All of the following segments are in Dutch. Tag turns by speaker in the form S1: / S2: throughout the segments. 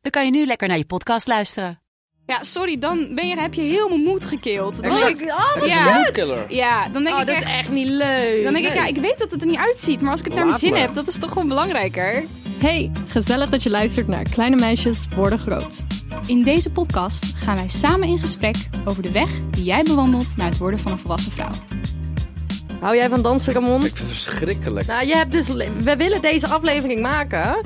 S1: dan kan je nu lekker naar je podcast luisteren.
S2: Ja, sorry, dan ben je, heb je heel mijn moed gekeeld. Dan
S3: Exact.
S2: denk ik-
S3: Het is
S2: Ja.
S3: een moodkiller.
S2: ja, dan denk
S3: Oh,
S2: ik
S3: dat
S2: echt...
S3: oh, is echt niet leuk.
S2: Dan denk ik,
S3: Nee.
S2: ja, ik weet dat het er niet uitziet, maar als ik het naar mijn
S3: Laat
S2: zin
S3: maar.
S2: heb, dat is toch gewoon belangrijker.
S4: Hey, gezellig dat je luistert naar Kleine Meisjes Worden Groot.
S2: In deze podcast gaan wij samen in gesprek over de weg die jij bewandelt naar het worden van een volwassen vrouw.
S3: Hou jij van dansen, Ramon?
S5: Ik vind het verschrikkelijk.
S3: Nou, je hebt dus... We willen deze aflevering maken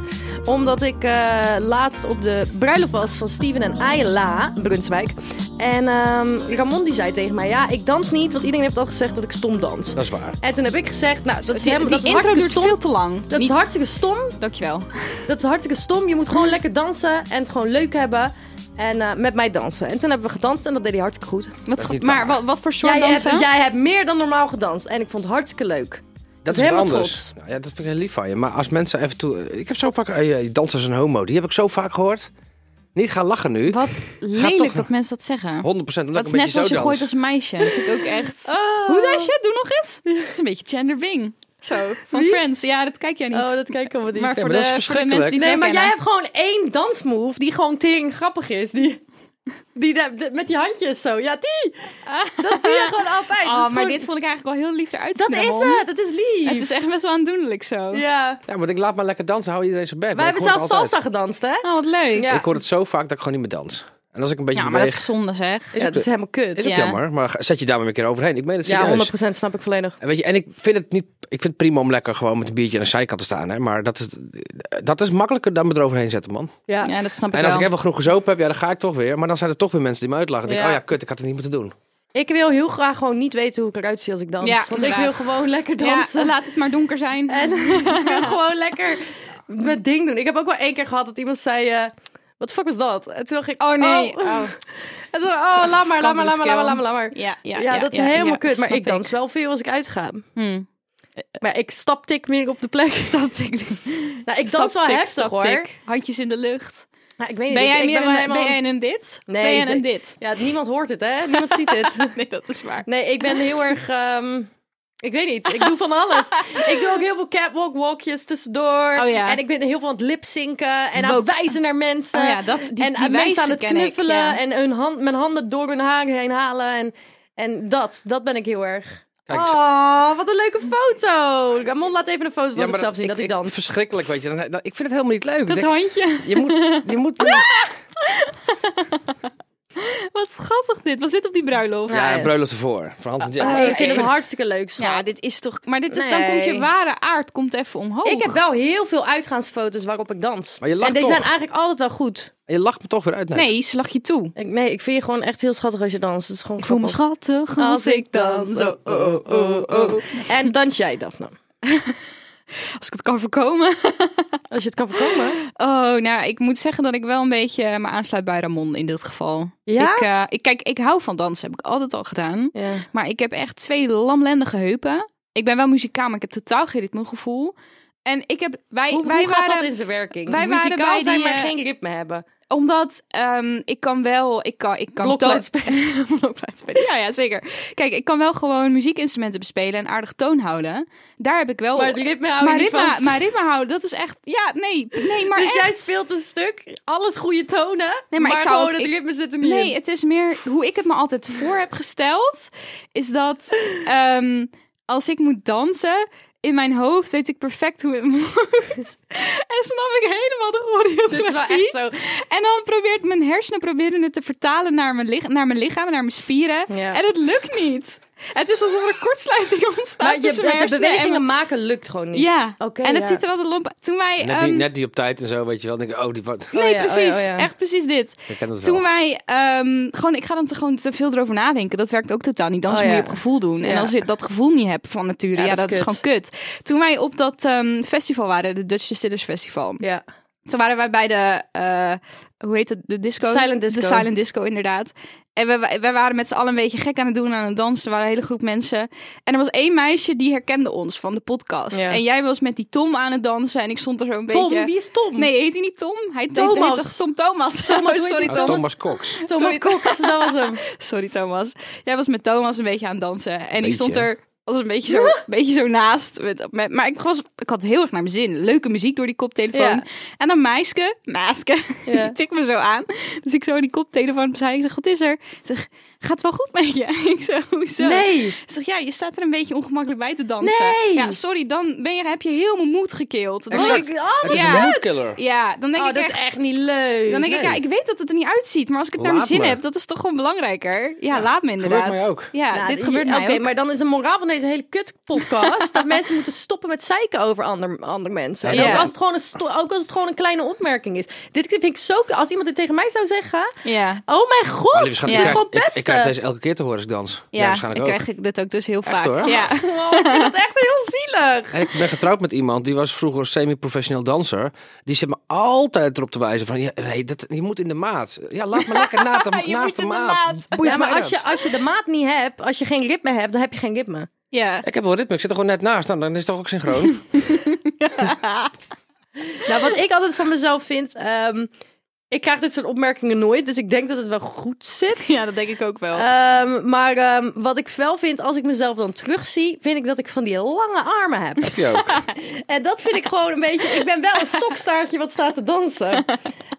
S3: omdat ik eh, laatst op de bruiloft was van Steven en Ayla, Brunswijk. En ehm, Ramon die zei tegen mij, ja, ik dans niet, want iedereen heeft al gezegd dat ik stom dans.
S5: Dat is waar.
S3: En toen heb ik gezegd, nou, dat is,
S2: die
S3: helemaal,
S2: die
S3: dat is
S2: intro duurt
S3: hartstikke stom.
S2: veel te lang.
S3: Dat is
S2: Niet-
S3: hartstikke stom.
S2: Dankjewel.
S3: Dat is hartstikke stom. Je moet
S4: Hm.
S3: gewoon lekker dansen en het gewoon leuk hebben. En eh, met mij dansen. En toen hebben we gedanst en dat deed hij hartstikke goed.
S2: Wat,
S5: niet
S2: maar wat, wat voor soort
S3: jij,
S2: dansen?
S3: Hebt, jij hebt meer dan normaal gedanst. En ik vond het hartstikke leuk.
S5: Dat
S3: is
S5: is wat
S3: helemaal
S5: anders.
S3: trots.
S5: Nou ja, dat vind ik heel lief van je. Maar als mensen even toe... Ik heb zo vaak... eh, je danst als een homo. Die heb ik zo vaak gehoord. Niet gaan lachen nu. 100%
S2: Wat lelijk
S5: toch-
S2: dat mensen dat zeggen.
S5: omdat ik een
S2: dat is
S5: beetje
S2: net
S5: zo
S2: zoals je
S5: dans.
S2: gooit als een meisje. Dat vind ik ook echt... Hoe dat je? Doe nog eens. Dat Oh. is een beetje Chandler Bing. Zo. Van Friends. Ja, dat kijk jij niet.
S3: Oh, dat kijken we niet.
S2: maar
S5: Nee,
S2: voor,
S5: maar dat
S2: de,
S5: is
S2: voor de mensen die het
S3: nee, maar
S2: herkennen.
S3: jij hebt gewoon één dansmove die gewoon tering grappig is. Die, die, daar- de- met die handjes zo. Ja, die. Dat doe je gewoon
S2: Oh,
S3: altijd. dat is
S2: maar
S3: gewoon-
S2: dit vond ik eigenlijk wel heel lief eruit
S3: dat
S2: zien,
S3: is
S2: Ramon.
S3: het. Dat is lief.
S2: Het is echt best wel aandoenlijk zo.
S3: Ja.
S5: Ja, maar ik laat maar lekker dansen. Hou iedereen zijn bek.
S3: We hebben
S5: ik hoor
S3: zelfs
S5: het
S3: salsa
S5: altijd.
S3: gedanst, hè?
S2: Oh, wat leuk.
S3: Ja.
S5: Ik hoor het zo vaak dat ik gewoon niet meer dans. En als ik een beetje
S2: Ja, maar dat
S5: beweeg...
S2: is zonde zeg.
S3: Ja, dat is helemaal kut.
S5: is ook
S2: ja.
S5: jammer. Maar ga- zet je daar maar een keer overheen. Ik meen het
S3: Ja,
S5: serieus.
S3: 100% snap ik volledig.
S5: En Weet je, en ik vind het niet... Ik vind het prima om lekker gewoon met een biertje aan de zijkant te staan. Hè? Maar dat is, dat is makkelijker dan me eroverheen zetten, man.
S3: Ja.
S2: Ja, dat snap ik
S5: En als ik
S2: wel.
S5: even genoeg gezopen heb, ja, dan ga ik toch weer. Maar dan zijn er toch weer mensen die me uitlachen. Dan denk ik,
S3: Ja.
S5: oh ja, kut, ik had het niet moeten doen.
S3: Ik wil heel graag gewoon niet weten hoe ik eruit zie als ik dans.
S2: Ja,
S3: want ik wil
S2: inderdaad.
S3: gewoon lekker
S2: Ja, eh,
S3: dansen.
S2: laat het maar donker zijn. Oh,
S3: En ik wil gewoon lekker mijn ding doen. Ik heb ook wel één keer gehad dat iemand zei... eh, wat de fuck was dat? En toen dacht ik...
S2: Oh nee.
S3: Oh, En toen, oh laat maar, laat maar, laat maar, laat maar, laat maar, laat maar.
S2: Ja, ja,
S3: Ja, dat is
S2: ja,
S3: helemaal
S2: ja,
S3: kut. Maar
S2: snap
S3: ik dans wel veel als ik uitga.
S2: Hmm.
S3: Maar ik staptik meer op de plek.
S2: Staptik.
S3: Nou, ik dans wel
S2: Staptik,
S3: heftig hoor.
S2: staptik. Handjes in de lucht.
S3: Maar ik weet niet,
S2: Ben
S3: ik-
S2: jij
S3: ik
S2: meer
S3: ben
S2: een,
S3: helemaal-
S2: ben jij een dit?
S3: Nee,
S2: ben jij
S3: ze-
S2: een dit?
S3: Ja, niemand hoort het hè. Niemand ziet dit.
S2: Nee, dat is waar.
S3: Nee, ik ben heel erg... ehm, ik weet niet, ik doe van alles. ik doe ook heel veel catwalk walkjes tussendoor.
S2: Oh ja.
S3: En ik ben heel veel aan het lipzinken en aan
S2: Woke.
S3: het wijzen naar mensen.
S2: Oh ja, dat, die,
S3: en
S2: die
S3: aan mensen
S2: wijzen
S3: aan het
S2: ken ik,
S3: knuffelen
S2: ja.
S3: en hun hand, mijn handen door hun haar heen halen. En, en dat, dat ben ik heel erg.
S5: Kijk,
S3: oh, wat een leuke foto. Ramon, laat even een foto van zichzelf zien dat ik, dan.
S5: Verschrikkelijk, weet je. Dan, dan- ik vind het helemaal niet leuk.
S2: Dat
S5: Ik denk,
S2: handje.
S5: je moet... Je moet
S2: Wat schattig dit. Was dit op die bruiloft?
S5: ja, een bruiloft ervoor. Van Hans en Jack.
S3: Ah, ik vind
S2: ik-
S3: het hartstikke leuk, schat.
S2: Ja, dit is toch... Maar dit is, dan
S3: Nee.
S2: komt je ware aard komt even omhoog.
S3: Ik heb wel heel veel uitgaansfoto's waarop ik dans.
S5: Maar je lacht
S3: en die
S5: toch?
S3: zijn eigenlijk altijd wel goed.
S5: Je lacht me toch weer uit net.
S2: Nee, ze lag je toe.
S3: Ik, nee, ik vind je gewoon echt heel schattig als je danst. Het is gewoon
S2: Ik voel me
S3: grappig.
S2: schattig als ik dan zo...
S3: oh, oh, oh. En dans jij, Daphne.
S2: Als ik het kan voorkomen.
S3: Als je het kan voorkomen.
S2: Oh, nou, ik moet zeggen dat ik wel een beetje me aansluit bij Ramon in dit geval.
S3: Ja?
S2: Ik, eh, ik, kijk, ik hou van dansen. Heb ik altijd al gedaan.
S3: Ja.
S2: Maar ik heb echt twee lamlendige heupen. Ik ben wel muzikaal, maar ik heb totaal geen ritmegevoel. En ik heb... Wij,
S3: Hoe,
S2: wij
S3: hoe gaat
S2: waren,
S3: dat in zijn werking?
S2: wij waren
S3: Muzikaal
S2: bij
S3: zijn,
S2: die,
S3: maar
S2: eh,
S3: geen ritme hebben.
S2: Omdat ehm, ik kan wel, ik kan, ik kan
S3: Blokfluit
S2: toon- Blokfluit spelen. Ja, ja, zeker. Kijk, ik kan wel gewoon muziekinstrumenten bespelen en aardig toon houden. Daar heb ik wel.
S3: Maar het ritme hou
S2: Oh.
S3: je
S2: maar
S3: niet
S2: ritme,
S3: vast.
S2: maar ritme houden, dat is echt. Ja, nee, nee, maar
S3: dus
S2: echt.
S3: jij speelt een stuk, alles goede tonen.
S2: Nee, maar ik zou
S3: gewoon
S2: ook-
S3: het
S2: ik-
S3: ritme zit er niet
S2: Nee,
S3: in.
S2: het is meer hoe ik het me altijd voor heb gesteld. Is dat ehm, als ik moet dansen, in mijn hoofd weet ik perfect hoe het moet. en snap ik helemaal de choreografie.
S3: Dit is wel echt zo.
S2: En dan probeert mijn hersenen proberen het te vertalen naar mijn, lich- naar mijn lichaam, en naar mijn spieren.
S3: Ja.
S2: En het lukt niet. Het is alsof er een kortsluiting ontstaat
S3: Maar je,
S2: tussen mijn
S3: de
S2: hersenen en
S3: bewegingen
S2: mijn-
S3: maken lukt gewoon niet.
S2: Ja,
S3: Oké,
S2: en het
S3: ja.
S2: ziet er altijd lomp uit. Toen wij...
S5: Net, die,
S2: ehm,
S5: net die op tijd en zo, weet je wel. Dan denk ik, oh, die... Wat,
S2: Nee,
S3: Oh ja, oh ja,
S2: precies.
S3: oh ja.
S2: Echt precies dit.
S5: ik ken het wel.
S2: Toen wij, ehm, gewoon, ik ga dan te, gewoon te veel erover nadenken. Dat werkt ook totaal niet. Dan
S3: Oh,
S2: moet
S3: ja.
S2: je op gevoel doen. En
S3: Ja.
S2: als je dat gevoel niet hebt van nature, ja, dat, is, gewoon kut. Toen wij op dat ehm, festival waren, de Dutch Distillers Festival.
S3: Ja.
S2: Toen waren wij bij de, eh, hoe heet het, de disco?
S3: Silent disco.
S2: De silent disco, inderdaad. En we, wij waren met z'n allen een beetje gek aan het doen, aan het dansen. Er waren een hele groep mensen. En er was één meisje die herkende ons van de podcast.
S3: Ja.
S2: En jij was met die Tom aan het dansen en ik stond er zo een beetje...
S3: is Tom?
S2: Nee, heet hij niet Tom? Hij heet-
S3: Thomas.
S2: heet toch Tom Thomas.
S3: Thomas, hoe heet
S2: sorry
S3: die?
S5: Oh,
S2: Thomas.
S5: Thomas Cox.
S3: Thomas
S2: Sorry.
S3: Cox, dat was hem.
S2: Sorry Thomas. Jij was met Thomas een beetje aan het dansen. En die
S5: Beetje.
S2: stond er als een beetje zo, een beetje zo naast. Met, met, maar ik, was, ik had heel erg naar mijn zin. Leuke muziek door die koptelefoon.
S3: Ja.
S2: En dan meisje, meisje,
S3: Ja.
S2: die tik me zo aan. Dus ik zo die koptelefoon opzij. Ik zeg, wat is er? Ze zegt, gaat wel goed met je? Ik zeg, hoezo?
S3: Nee.
S2: Ze zegt, ja, je staat er een beetje ongemakkelijk bij te dansen.
S3: Nee.
S2: Ja, sorry, dan ben je, heb je heel mijn moed gekeeld. Dan
S5: Exact.
S2: denk ik-
S3: Oh,
S5: Het is
S2: Ja.
S5: een moodkiller.
S2: ja, dan denk
S3: oh,
S2: ik
S3: dat is echt niet leuk.
S2: dan denk ik,
S5: Nee.
S2: ja, ik weet dat het er niet uitziet, maar als ik het naar
S5: Laat
S2: mijn zin
S5: me.
S2: heb, dat is toch gewoon belangrijker. Ja, laat me inderdaad.
S5: mij ook.
S2: Ja,
S3: Nou,
S2: dit
S3: die-
S2: gebeurt mij
S3: Oké,
S2: ook.
S3: maar dan is de moraal van deze hele kut-podcast... dat mensen moeten stoppen met zeiken over ander, andere mensen. En
S5: Ja,
S2: dat
S3: ook,
S2: is-
S3: als het gewoon een sto- ook als het gewoon een kleine opmerking is. Dit vind ik zo... Als iemand dit tegen mij zou zeggen...
S2: Ja,
S3: Oh mijn god,
S5: Oh, lieve schat,
S3: dit
S5: ik
S3: is
S5: krijg-
S3: gewoon eh.
S5: ik,
S3: pesten.
S5: ik krijg deze elke keer te horen als ik dans. Ja,
S2: ja, dan
S5: waarschijnlijk ook.
S2: krijg ik dit ook dus heel vaak.
S5: Echt hoor.
S2: Ja.
S3: Oh, ik vind dat echt heel zielig.
S5: En ik ben getrouwd met iemand die was vroeger semi-professioneel danser. Die zit me altijd erop te wijzen van, ja, nee, dat, je moet in de maat. Ja, laat me lekker na de,
S2: Je moet
S5: naast de
S2: in de
S5: maat.
S2: maat.
S5: Boeit
S3: ja, maar
S5: mij
S3: als
S5: dat.
S3: je, als je de maat niet hebt, als je geen ritme hebt, dan heb je geen ritme.
S2: ja.
S5: Ik heb wel ritme, ik zit er gewoon net naast. Nou, dan is het toch ook synchroon?
S3: Nou, wat ik altijd van mezelf vind... ehm, ik krijg dit soort opmerkingen nooit, dus ik denk dat het wel goed zit.
S2: ja, dat denk ik ook wel.
S3: Ehm, maar ehm, wat ik wel vind, als ik mezelf dan terugzie, vind ik dat ik van die lange armen heb.
S5: heb je ook.
S3: En dat vind ik gewoon een beetje. Ik ben wel een stokstaartje wat staat te dansen.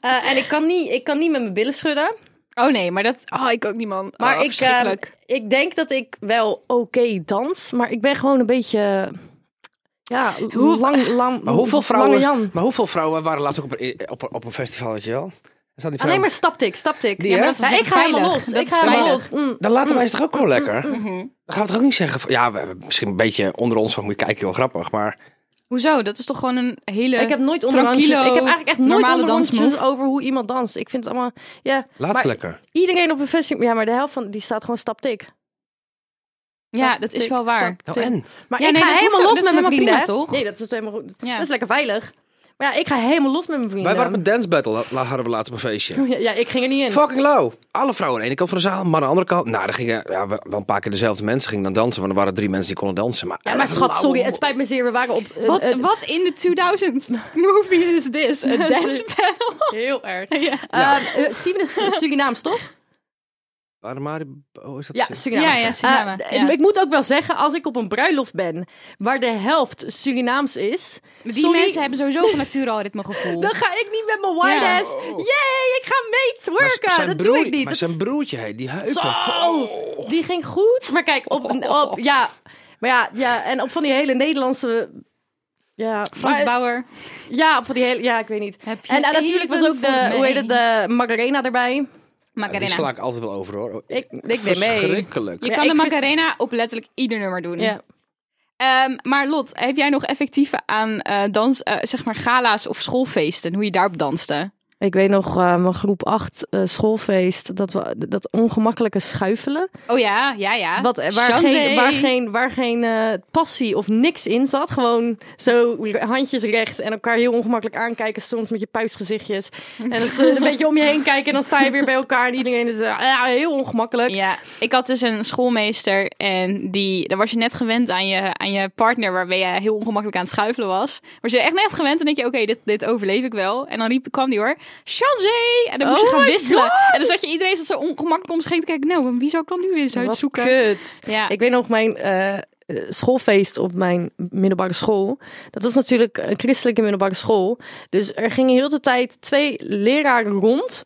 S3: Eh, en ik kan, niet, ik kan niet met mijn billen schudden.
S2: oh nee, maar dat... Oh, ik ook niet, man.
S3: Maar
S2: oh,
S3: ik, ehm,
S2: verschrikkelijk.
S3: ik denk dat ik wel oké dans. Maar ik ben gewoon een beetje. Ja,
S2: Hoe-
S3: lang, lang.
S5: Maar hoeveel
S3: lange
S5: vrouwen,
S3: Jan.
S5: maar hoeveel vrouwen waren laatst ook op een, op, op een festival, weet je wel? Er staat die
S3: Ah, nee,
S5: vrouw-
S3: maar stapte ik, stapte ik.
S5: Die, Ja, hè? maar
S2: dat is
S3: ik ga helemaal los.
S2: veilig. Dat
S3: ik
S2: is
S3: ga helemaal los.
S2: veilig.
S3: Mm.
S5: Dan laten wij het toch ook gewoon lekker? Dan gaan we toch ook niet zeggen van, ja, we- misschien een beetje onder ons van, moet je kijken, heel grappig. Maar
S2: Hoezo? Dat is toch gewoon een hele...
S3: Ik heb nooit onderhandjes. Ik
S2: tranquilo,
S3: heb eigenlijk echt nooit
S2: normale
S3: onderhandjes
S2: dansmove.
S3: over hoe iemand danst. Ik vind het allemaal. Ja,
S5: laat
S3: maar
S5: ze lekker.
S3: Iedereen op een festival. Ja, maar de helft van die staat gewoon stapte ik.
S2: Ja, dat is wel waar.
S5: Nou en?
S3: Maar
S2: Ja,
S3: ik
S2: nee,
S3: ga
S2: dat hoeft
S3: helemaal
S2: ook-
S3: los
S2: dat
S3: met
S2: is
S3: mijn vrienden,
S2: helemaal
S3: hè?
S2: prima, toch?
S3: Nee, dat is helemaal goed.
S2: Ja.
S3: Dat is lekker veilig. Maar ja, ik ga helemaal los met mijn vrienden.
S5: Wij waren op een dance battle, la- la- hadden we laatst op een feestje.
S3: Ja, ja, ik ging er niet in.
S5: Fucking low. Alle vrouwen aan de ene kant van de zaal, maar aan de andere kant. Nou, er gingen ja, wel wel een paar keer dezelfde mensen gingen dan dansen. Want er waren drie mensen die konden dansen. Maar,
S3: Ja, maar schat, sorry, het spijt me zeer. We waren op... eh,
S2: Wat,
S3: eh,
S2: wat in de 2000 movies is this? Een dance battle?
S3: Heel erg.
S2: ja.
S3: Eh, eh, Steven is Surinaams, toch?
S5: Waren Maribor- oh, is dat
S3: Ja,
S5: zo?
S3: Surinaams.
S2: ja, ja, Suriname.
S3: Eh,
S2: ja.
S3: Ik moet ook wel zeggen, als ik op een bruiloft ben waar de helft Surinaams is,
S2: Die
S3: sorry.
S2: mensen hebben sowieso van nature al ritmegevoel.
S3: dan ga ik niet met mijn wide
S2: Ja.
S3: ass. Yay, ik ga mee
S5: Oh. Maar z-
S3: twerken.
S5: zijn
S3: Dat doe
S5: broer-
S3: ik niet.
S5: Maar
S3: Dat
S5: zijn Oh. broertje, hey, die heupen.
S3: Zo! Die ging goed. Maar kijk, op, op ja. Maar ja, ja, en op van die hele Nederlandse. Ja,
S2: Frans
S3: maar-
S2: Bauer.
S3: Ja, op van die hele. Ja, ik weet niet.
S2: Heb je
S3: En, eh, natuurlijk was
S2: even
S3: ook de,
S2: voor
S3: hoe heet
S2: mij?
S3: het, de Macarena erbij.
S5: Ja, die
S2: Macarena.
S5: sla ik altijd wel over, hoor.
S3: Ik, ik ben mee.
S5: Verschrikkelijk.
S2: Je
S3: Ja,
S2: kan de
S3: ik vind-
S2: Macarena op letterlijk ieder nummer doen.
S3: Ja.
S2: Ehm, maar Lot, heb jij nog effectieven aan eh, dans, eh, zeg maar gala's of schoolfeesten? Hoe je daarop danste?
S3: Ik weet nog, eh, mijn groep 8 eh, schoolfeest, dat, we, dat ongemakkelijke schuifelen.
S2: Oh ja, ja, ja.
S3: Wat, eh, waar,
S2: Chanzee.
S3: geen, waar geen, waar geen eh, passie of niks in zat. Gewoon zo handjes recht en elkaar heel ongemakkelijk aankijken. Soms met je puistgezichtjes. En dan zo een beetje om je heen kijken en dan sta je weer bij elkaar. En iedereen is eh, ja, heel ongemakkelijk.
S2: Ja, ik had dus een schoolmeester en die, daar was je net gewend aan je, aan je partner waarmee je heel ongemakkelijk aan het schuifelen was. Was je echt net gewend en denk je, oké, dit, dit overleef ik wel. En dan riep, kwam die hoor, Chanzee! En dan moest
S3: Oh
S2: je gaan
S3: my
S2: wisselen. En dan zat je iedereen zat zo ongemakkelijk om zich heen te kijken, nou, wie zou ik dan nu weer eens
S3: Wat
S2: uitzoeken?
S3: kut.
S2: Ja.
S3: Ik weet nog mijn eh, eh, schoolfeest op mijn middelbare school. Dat was natuurlijk een christelijke middelbare school. Dus er gingen heel de tijd twee leraren rond.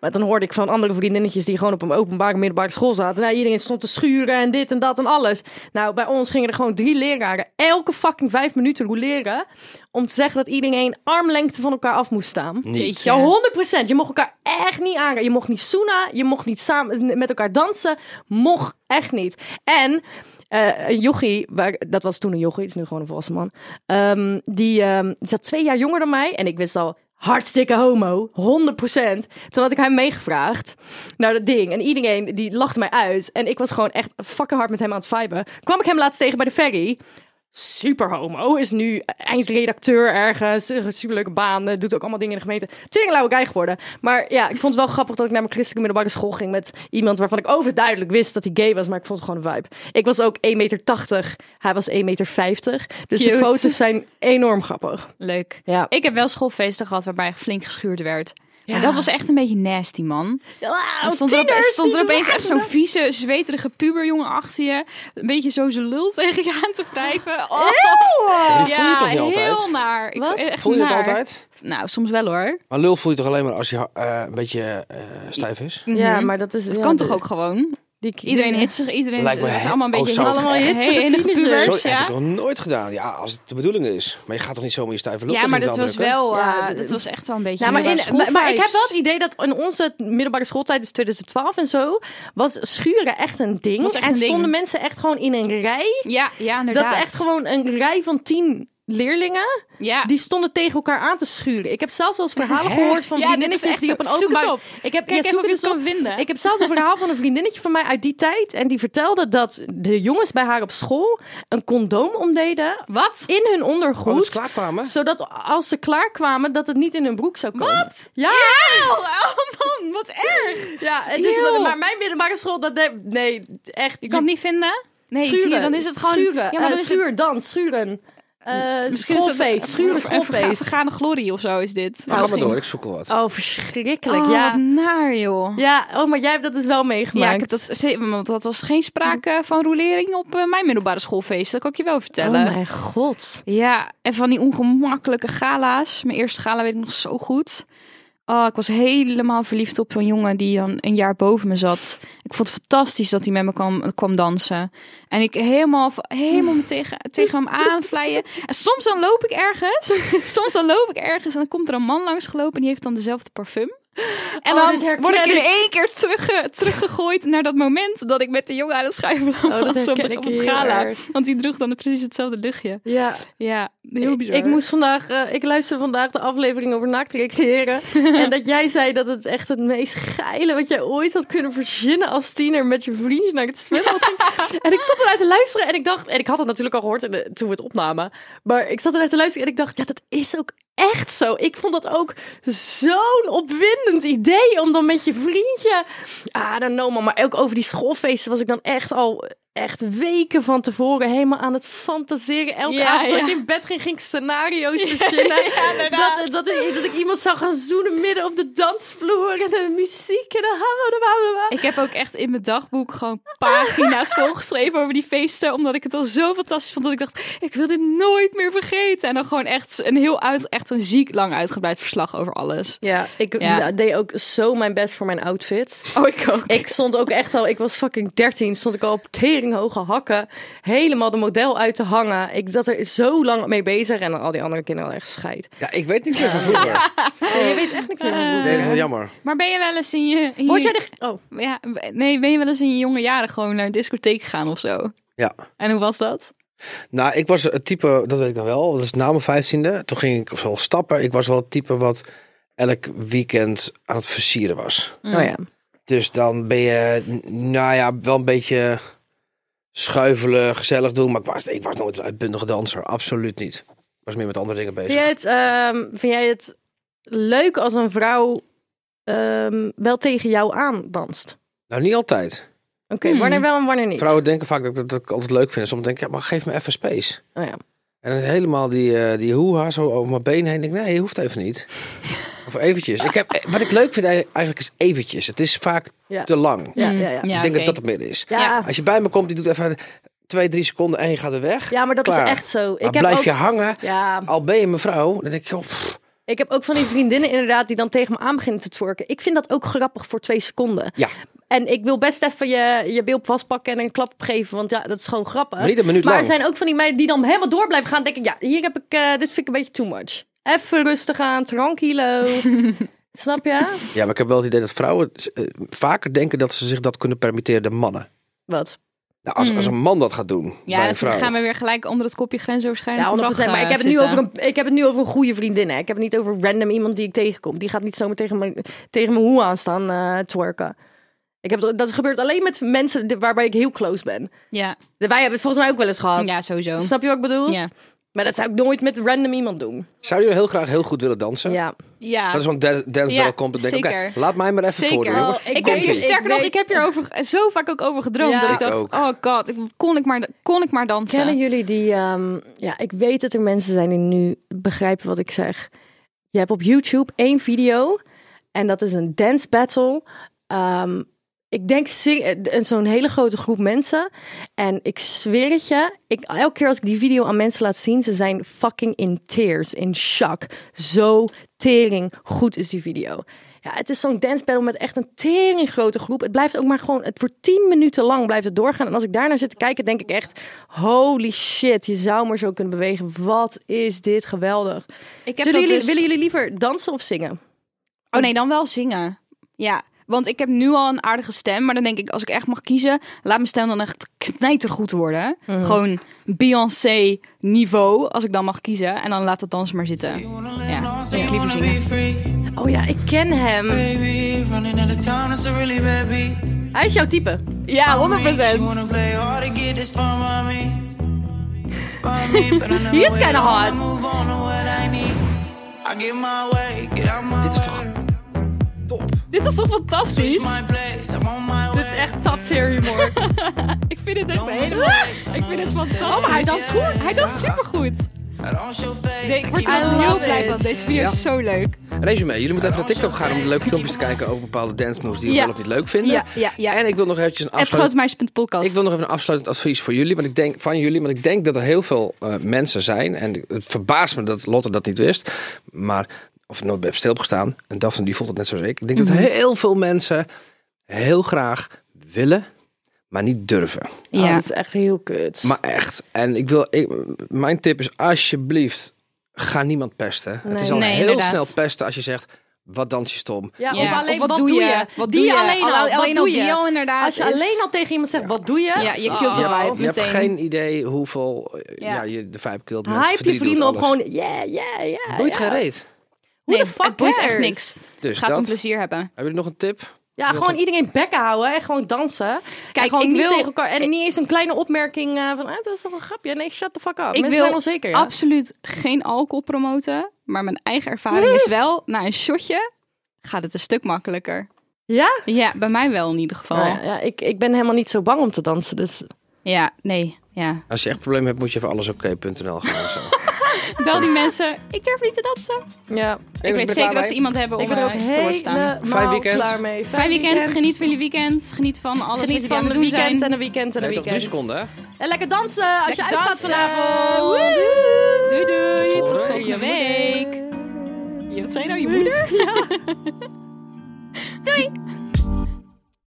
S3: Maar dan hoorde ik van andere vriendinnetjes die gewoon op een openbare middelbare school zaten. Nou, iedereen stond te schuren en dit en dat en alles. Nou, bij ons gingen er gewoon drie leraren elke fucking vijf minuten rouleren. Om te zeggen dat iedereen armlengte van elkaar af moest staan.
S5: Niet.
S3: Ja, 100%. Je mocht elkaar echt niet aanraken. Je mocht niet zoenen. Je mocht niet samen met elkaar dansen. Mocht echt niet. En eh, een jochie, waar, dat was toen een jochie, het is nu gewoon een volwassen man. ehm, die ehm, zat twee jaar jonger dan mij. En ik wist al, hartstikke homo. 100%. Toen had ik hem meegevraagd naar dat ding. En iedereen die lachte mij uit. En ik was gewoon echt fucking hard met hem aan het viben. Kwam ik hem laatst tegen bij de ferry. super homo. Is nu eindredacteur ergens. Een Superleuke baan. eh, Doet ook allemaal dingen in de gemeente. Teringlauwe guy geworden. Maar ja, ik vond het wel grappig dat ik naar mijn christelijke middelbare school ging met iemand waarvan ik overduidelijk wist dat hij gay was. Maar ik vond het gewoon een vibe. Ik was ook 1,80 meter. Hij was 1,50 meter. Dus de
S2: Cute.
S3: foto's zijn enorm grappig.
S2: Leuk.
S3: Ja.
S2: Ik heb wel schoolfeesten gehad waarbij flink geschuurd werd.
S3: Ja. Oh,
S2: Maar dat was echt een beetje nasty, man.
S3: Ah,
S2: Dan stond er, opeens, stond er opeens echt zo'n vieze, zweterige puberjongen achter je. Een beetje zo zijn lul tegen je aan te wrijven. Oh.
S5: Ja, die voel je
S2: Ja,
S5: toch niet altijd?
S2: heel naar. Ik,
S3: Wat?
S2: Echt
S5: Voel je dat
S2: naar.
S5: altijd?
S2: Nou, soms wel hoor.
S5: Maar lul voel je toch alleen maar als je eh, een beetje eh, stijf is?
S3: Ja,
S2: Mhm.
S3: maar dat is...
S2: Dat kan toch ook gewoon? Iedereen hit zich, iedereen
S5: Lijkt me
S2: is
S5: he-
S2: allemaal een
S5: oh,
S2: beetje
S5: zo. Allemaal
S2: hitsig.
S3: hitsige
S2: Hele enige
S3: tieners.
S2: pubers,
S5: Zo heb
S2: ja.
S5: ik nog nooit gedaan. Ja, als het de bedoeling is. Maar je gaat toch niet zomaar je stijve lul
S2: Ja,
S5: tegen
S2: maar dat
S5: iemand
S2: was
S5: aandrukken?
S2: wel, eh,
S3: Ja, d-
S2: dat was echt wel een beetje.
S3: Ja, Nou, maar, in,
S2: middelbare
S3: maar, maar ik heb wel het
S2: schoolvibes.
S3: idee dat in onze middelbare schooltijd, dus 2012 en zo, was schuren echt een ding.
S2: Was echt
S3: en
S2: een ding.
S3: stonden mensen echt gewoon in een rij.
S2: Ja, ja,
S3: Dat
S2: inderdaad.
S3: is echt gewoon een rij van tien leerlingen.
S2: Ja.
S3: Die stonden tegen elkaar aan te schuren. Ik heb zelfs wel eens verhalen gehoord van
S2: Ja, dit is
S3: vriendinnetjes
S2: echt
S3: die
S2: zo-
S3: op een
S2: zoek het
S3: openbaar...
S2: op.
S3: Ik heb,
S2: Kijk
S3: ja,
S2: even
S3: zoek
S2: of je
S3: het
S2: het
S3: op.
S2: kan vinden.
S3: Ik heb zelfs een verhaal van een vriendinnetje van mij uit die tijd. En die vertelde dat de jongens bij haar op school een condoom omdeden
S2: Wat?
S3: in hun
S5: Oh, dat
S3: ondergoed.
S5: ze klaar kwamen?
S3: zodat als ze klaar kwamen, dat het niet in hun broek zou komen.
S2: Wat?
S3: Ja!
S2: Oh, oh man, wat erg.
S3: Ja, het is,
S2: Eeuw.
S3: maar mijn middelbare school, dat de- nee, echt.
S2: Je kan het niet vinden? Nee,
S3: schuren.
S2: zie je, dan is het gewoon...
S3: schuren.
S2: Ja, maar dan
S3: Eh,
S2: is
S3: schuur,
S2: het...
S3: dans, schuren. Eh
S2: Misschien is
S3: schoolfeest,
S2: het
S3: schuren,
S2: een verga-
S3: schoolfeest.
S2: vergane glorie of zo is dit.
S5: Nou, Ga maar door, ik zoek al wat.
S3: Oh, verschrikkelijk,
S2: Oh, wat
S3: ja.
S2: naar joh.
S3: Ja, oh, maar jij hebt dat dus wel meegemaakt.
S2: Ja, ik heb dat, ze- want dat was geen sprake van rolering op eh, mijn middelbare schoolfeest. Dat kan ik je wel vertellen.
S3: Oh mijn god.
S2: Ja, en van die ongemakkelijke gala's. Mijn eerste gala weet ik nog zo goed. Oh, ik was helemaal verliefd op een jongen die dan een jaar boven me zat. Ik vond het fantastisch dat hij met me kwam, kwam dansen. En ik helemaal, v- helemaal me tegen, tegen hem aanvlijen. En soms dan loop ik ergens. Soms dan loop ik ergens en dan komt er een man langsgelopen en die heeft dan dezelfde parfum. En
S3: Oh,
S2: dan
S3: dit herken
S2: word ik in
S3: ik.
S2: één keer terugge, teruggegooid naar dat moment dat ik met de jongen aan het schuiven
S3: Oh, dat
S2: was op,
S3: herken
S2: de,
S3: ik
S2: op het
S3: heel
S2: gala.
S3: erg.
S2: Want die droeg dan precies hetzelfde luchtje.
S3: Ja,
S2: Ja, heel bizar.
S3: Ik moest vandaag, eh, ik luisterde vandaag de aflevering over naakt recreëren. en dat jij zei dat het echt het meest geile wat jij ooit had kunnen verzinnen als tiener met je vriendjes naar het zwembad ging. en ik zat eruit te luisteren en ik dacht, en ik had het natuurlijk al gehoord in de- toen we het opnamen. Maar ik zat eruit te luisteren en ik dacht, ja, dat is ook echt zo. Ik vond dat ook zo'n opwindend idee om dan met je vriendje, ah, dan know man, maar ook over die schoolfeesten was ik dan echt al echt weken van tevoren helemaal aan het fantaseren. Elke
S2: Ja,
S3: avond dat
S2: ja.
S3: ik in bed ging, ging ik scenario's verzinnen. dat, dat, ik, dat ik iemand zou gaan zoenen midden op de dansvloer en de muziek en de hammer.
S2: Ik heb ook echt in mijn dagboek gewoon pagina's volgeschreven over die feesten. Omdat ik het al zo fantastisch vond dat ik dacht, ik wil dit nooit meer vergeten. En dan gewoon echt een heel uit, echt een ziek lang uitgebreid verslag over alles.
S3: Ja, ik
S2: Ja.
S3: deed ook zo mijn best voor mijn outfits.
S2: Oh, ik ook.
S3: Ik stond ook echt al, ik was fucking 13, stond ik al op teringhoge hakken. Helemaal de model uit te hangen. Ik zat er zo lang mee bezig en al die andere kinderen hadden echt scheid.
S5: Ja, ik weet niet meer van vroeger.
S3: je weet echt niks meer van
S5: Nee, dat is wel jammer.
S2: Maar ben je wel eens in je... in
S3: Word
S2: je-
S3: jij de... Oh,
S2: Ja, nee, ben je wel eens in je jonge jaren gewoon naar een discotheek gegaan of zo?
S5: Ja.
S2: En hoe was dat?
S5: Nou, ik was het type, dat weet ik nog wel, dat is na mijn vijftiende. Toen ging ik wel stappen. Ik was wel het type wat elk weekend aan het versieren was.
S3: oh ja.
S5: Dus dan ben je, n- nou ja, wel een beetje schuivelen, gezellig doen. Maar ik was, ik was nooit een uitbundige danser, absoluut niet. Ik was meer met andere dingen bezig.
S3: Vind jij het, ehm, vind jij het leuk als een vrouw ehm, wel tegen jou aandanst?
S5: Nou, niet altijd.
S3: Oké,
S2: Hmm.
S3: wanneer wel en wanneer niet?
S5: Vrouwen denken vaak dat, ik- dat ik altijd leuk vind. En soms denk ik, ja, maar geef me even space.
S3: Oh ja.
S5: En dan helemaal die, eh die hoeha zo over mijn been heen. Ik denk, nee, hoeft even niet. Of eventjes. Ik heb, eh, wat ik leuk vind eigenlijk eigenlijk is eventjes. Het is vaak
S3: Ja.
S5: te lang.
S3: Ja,
S2: Mm.
S3: ja, ja.
S5: ik denk
S2: oké.
S5: dat dat het midden is.
S3: Ja.
S5: Als je bij me komt, die doet even twee, drie seconden en je gaat er weg.
S3: Ja, maar dat
S5: Klaar.
S3: is echt zo.
S5: maar
S3: ik heb
S5: blijf
S3: ook,
S5: je hangen,
S3: Ja,
S5: al ben je mevrouw, dan denk je, joh, pff,
S3: ik heb ook van die vriendinnen inderdaad die dan tegen me aan beginnen te twerken. Ik vind dat ook grappig voor twee seconden.
S5: ja,
S3: En ik wil best even je, je bilp vastpakken en een klap opgeven, want ja, dat is gewoon grappig.
S5: maar niet een minuut
S3: Maar er
S5: lang.
S3: zijn ook van die meiden die dan helemaal door blijven gaan. Denk ik, ja, hier heb ik, eh, dit vind ik een beetje too much. Even rustig aan, tranquilo. Snap je?
S5: Ja, maar ik heb wel het idee dat vrouwen eh, vaker denken dat ze zich dat kunnen permitteren dan mannen.
S3: Wat?
S5: Nou, als,
S2: Mm.
S5: als een man dat gaat doen bij
S2: Ja,
S5: een
S2: dus
S5: vrouw.
S2: dan gaan we weer gelijk onder het kopje grensoverschrijdend
S3: Ja, 100%.
S2: gedrag,
S3: Maar ik
S2: eh,
S3: heb, het nu
S2: zitten.
S3: over een, ik heb het nu over een goede vriendin. Hè. Ik heb het niet over random iemand die ik tegenkom. Die gaat niet zomaar tegen mijn, tegen mijn hoe aan staan eh, twerken. Ik heb, dat gebeurt alleen met mensen die- waarbij ik heel close ben.
S2: Ja,
S3: Wij hebben het volgens mij ook wel eens gehad.
S2: ja sowieso.
S3: Snap je wat ik bedoel?
S2: Ja.
S3: Maar dat zou ik nooit met random iemand doen.
S5: Zou jullie heel graag heel goed willen dansen?
S3: Ja.
S2: ja.
S5: Dat is want Dance Battle
S2: Ja,
S5: komt. en denk, Oké,
S2: zeker.
S5: laat mij maar even voor,
S2: Zeker.
S5: jongen.
S3: Oh,
S2: ik
S5: Komt-ie.
S2: heb hier sterker nog,
S3: weet-
S2: ik heb hier over, zo vaak ook over gedroomd.
S3: Ja.
S2: Dat ik
S3: Ik
S2: dacht,
S5: ook.
S2: oh god, ik, kon, ik maar, kon ik maar dansen.
S3: Kennen jullie die... ehm, ja, ik weet dat er mensen zijn die nu begrijpen wat ik zeg. Je hebt op YouTube één video. En dat is een dance battle. Ehm, ik denk zing- eh, zo'n hele grote groep mensen. En ik zweer het je. Ik, elke keer als ik die video aan mensen laat zien, ze zijn fucking in tears, in shock. Zo tering goed is die video. Ja, het is zo'n dance battle met echt een tering grote groep. Het blijft ook maar gewoon, het voor 10 minuten lang blijft het doorgaan. En als ik daarnaar zit te kijken, denk ik echt, holy shit, je zou maar zo kunnen bewegen. Wat is dit geweldig.
S2: Ik heb
S3: Zullen
S2: dat
S3: jullie,
S2: dus-
S3: Willen jullie liever dansen of zingen?
S2: Oh nee, dan wel zingen. Ja, want ik heb nu al een aardige stem. Maar dan denk ik, als ik echt mag kiezen, laat mijn stem dan echt knijtergoed worden. Gewoon Beyoncé niveau, als ik dan mag kiezen. En dan laat dat dansen maar zitten. Ja, ik liever zingen.
S3: Oh ja, ik ken hem. Hij is jouw type.
S2: Ja, 100%.
S3: He is kind of hard.
S5: Dit is toch top?
S2: Dit is toch fantastisch?
S3: Dit is echt top tier humor.
S2: Ik vind het echt helemaal... Ik vind het fantastisch. Oh,
S3: hij danst
S2: goed. Hij danst supergoed. Nee, ik word
S3: I
S2: er
S3: love
S2: heel blij
S3: it.
S2: van. Deze video is zo leuk.
S5: Resume, jullie moeten even naar TikTok gaan om de leuke filmpjes te kijken over bepaalde dance moves die we
S2: Ja.
S5: wel of niet leuk vinden.
S2: Ja, ja, ja.
S5: En ik wil nog eventjes een
S2: Het
S5: afsluitend,
S2: grootmeisje.podcast.
S5: ik wil nog even een afsluitend advies voor jullie, want ik denk, van jullie. Want ik denk dat er heel veel eh, mensen zijn. En het verbaast me dat Lotte dat niet wist. Maar, of nooit bij stil heb gestaan. En Daphne die voelt het net zoals ik. Ik denk
S2: Mhm.
S5: dat heel veel mensen heel graag willen, maar niet durven.
S3: Ja.
S2: Ja.
S3: dat Oh, is echt heel kut.
S5: Maar echt. En ik wil, ik, mijn tip is alsjeblieft, ga niemand pesten. het
S3: Nee.
S5: is al
S2: Nee,
S5: heel
S2: inderdaad.
S5: snel pesten als je zegt, wat dans je stom?
S3: ja,
S2: Ja.
S3: Of alleen
S2: Of
S3: wat, doe je?
S2: Wat
S3: die
S2: doe je?
S3: alleen al. wat
S2: Alleen al
S3: doe je?
S2: die al inderdaad.
S3: Als je
S2: is-
S3: alleen al tegen iemand zegt, wat doe je?
S2: Ja, je kilt de
S5: Je,
S2: vibe
S5: hebt, je hebt
S2: Oh, meteen.
S5: geen idee hoeveel eh,
S2: Ja.
S5: ja. je de vibe kilt. mensen
S3: Hype je
S5: verdriet doet,
S3: vrienden op
S5: alles.
S3: gewoon, yeah, yeah, yeah.
S5: Boeit
S3: ja.
S5: geen reet.
S3: Hoe de
S2: Nee,
S3: fuck
S2: het boeit echt
S3: cares?
S2: niks.
S5: Dus
S2: Gaat om
S5: dat.
S2: plezier hebben.
S5: Hebben jullie nog een tip?
S3: Ja, gewoon iedereen bekken houden en gewoon dansen.
S2: Kijk,
S3: en gewoon
S2: ik
S3: niet
S2: wil-
S3: tegen elkaar. En niet eens een kleine opmerking eh, van, ah, dat is toch een grapje. Nee, shut the fuck up. Mensen zijn onzeker. ja.
S2: absoluut geen alcohol promoten. Maar mijn eigen ervaring is wel, na een shotje gaat het een stuk makkelijker.
S3: Ja?
S2: Ja, bij mij wel in ieder geval.
S3: Nou
S2: ja.
S3: ja, ja, ik, ik ben helemaal niet zo bang om te dansen, dus...
S2: nee. Ja.
S5: Als je echt problemen hebt, moet je even allesoké.nl gaan. en Zo.
S2: Wel die mensen, ik durf niet te dansen.
S3: Ja.
S2: Ik weet zeker dat ze iemand hebben om
S3: Ik ben er ook
S2: eh, te woord staan.
S3: helemaal
S5: Fijn weekend.
S3: klaar mee. Fijn,
S2: Fijn weekend, geniet van jullie weekend. Geniet van alles
S3: Geniet
S2: wat jullie aan
S3: van
S2: het
S3: de
S2: doen
S3: weekend
S2: zijn.
S3: en de weekend en de
S5: Nee, toch drie
S3: weekend.
S5: seconden, hè?
S3: En lekker dansen als je
S2: Lekker
S3: uitgaat
S2: dansen.
S3: vanavond.
S2: Woe,
S3: Woehoe.
S2: Doei doei,
S5: Tot
S2: tot
S5: volgende
S2: volgende
S3: week.
S2: week. Je- Wat zei je nou, je moeder?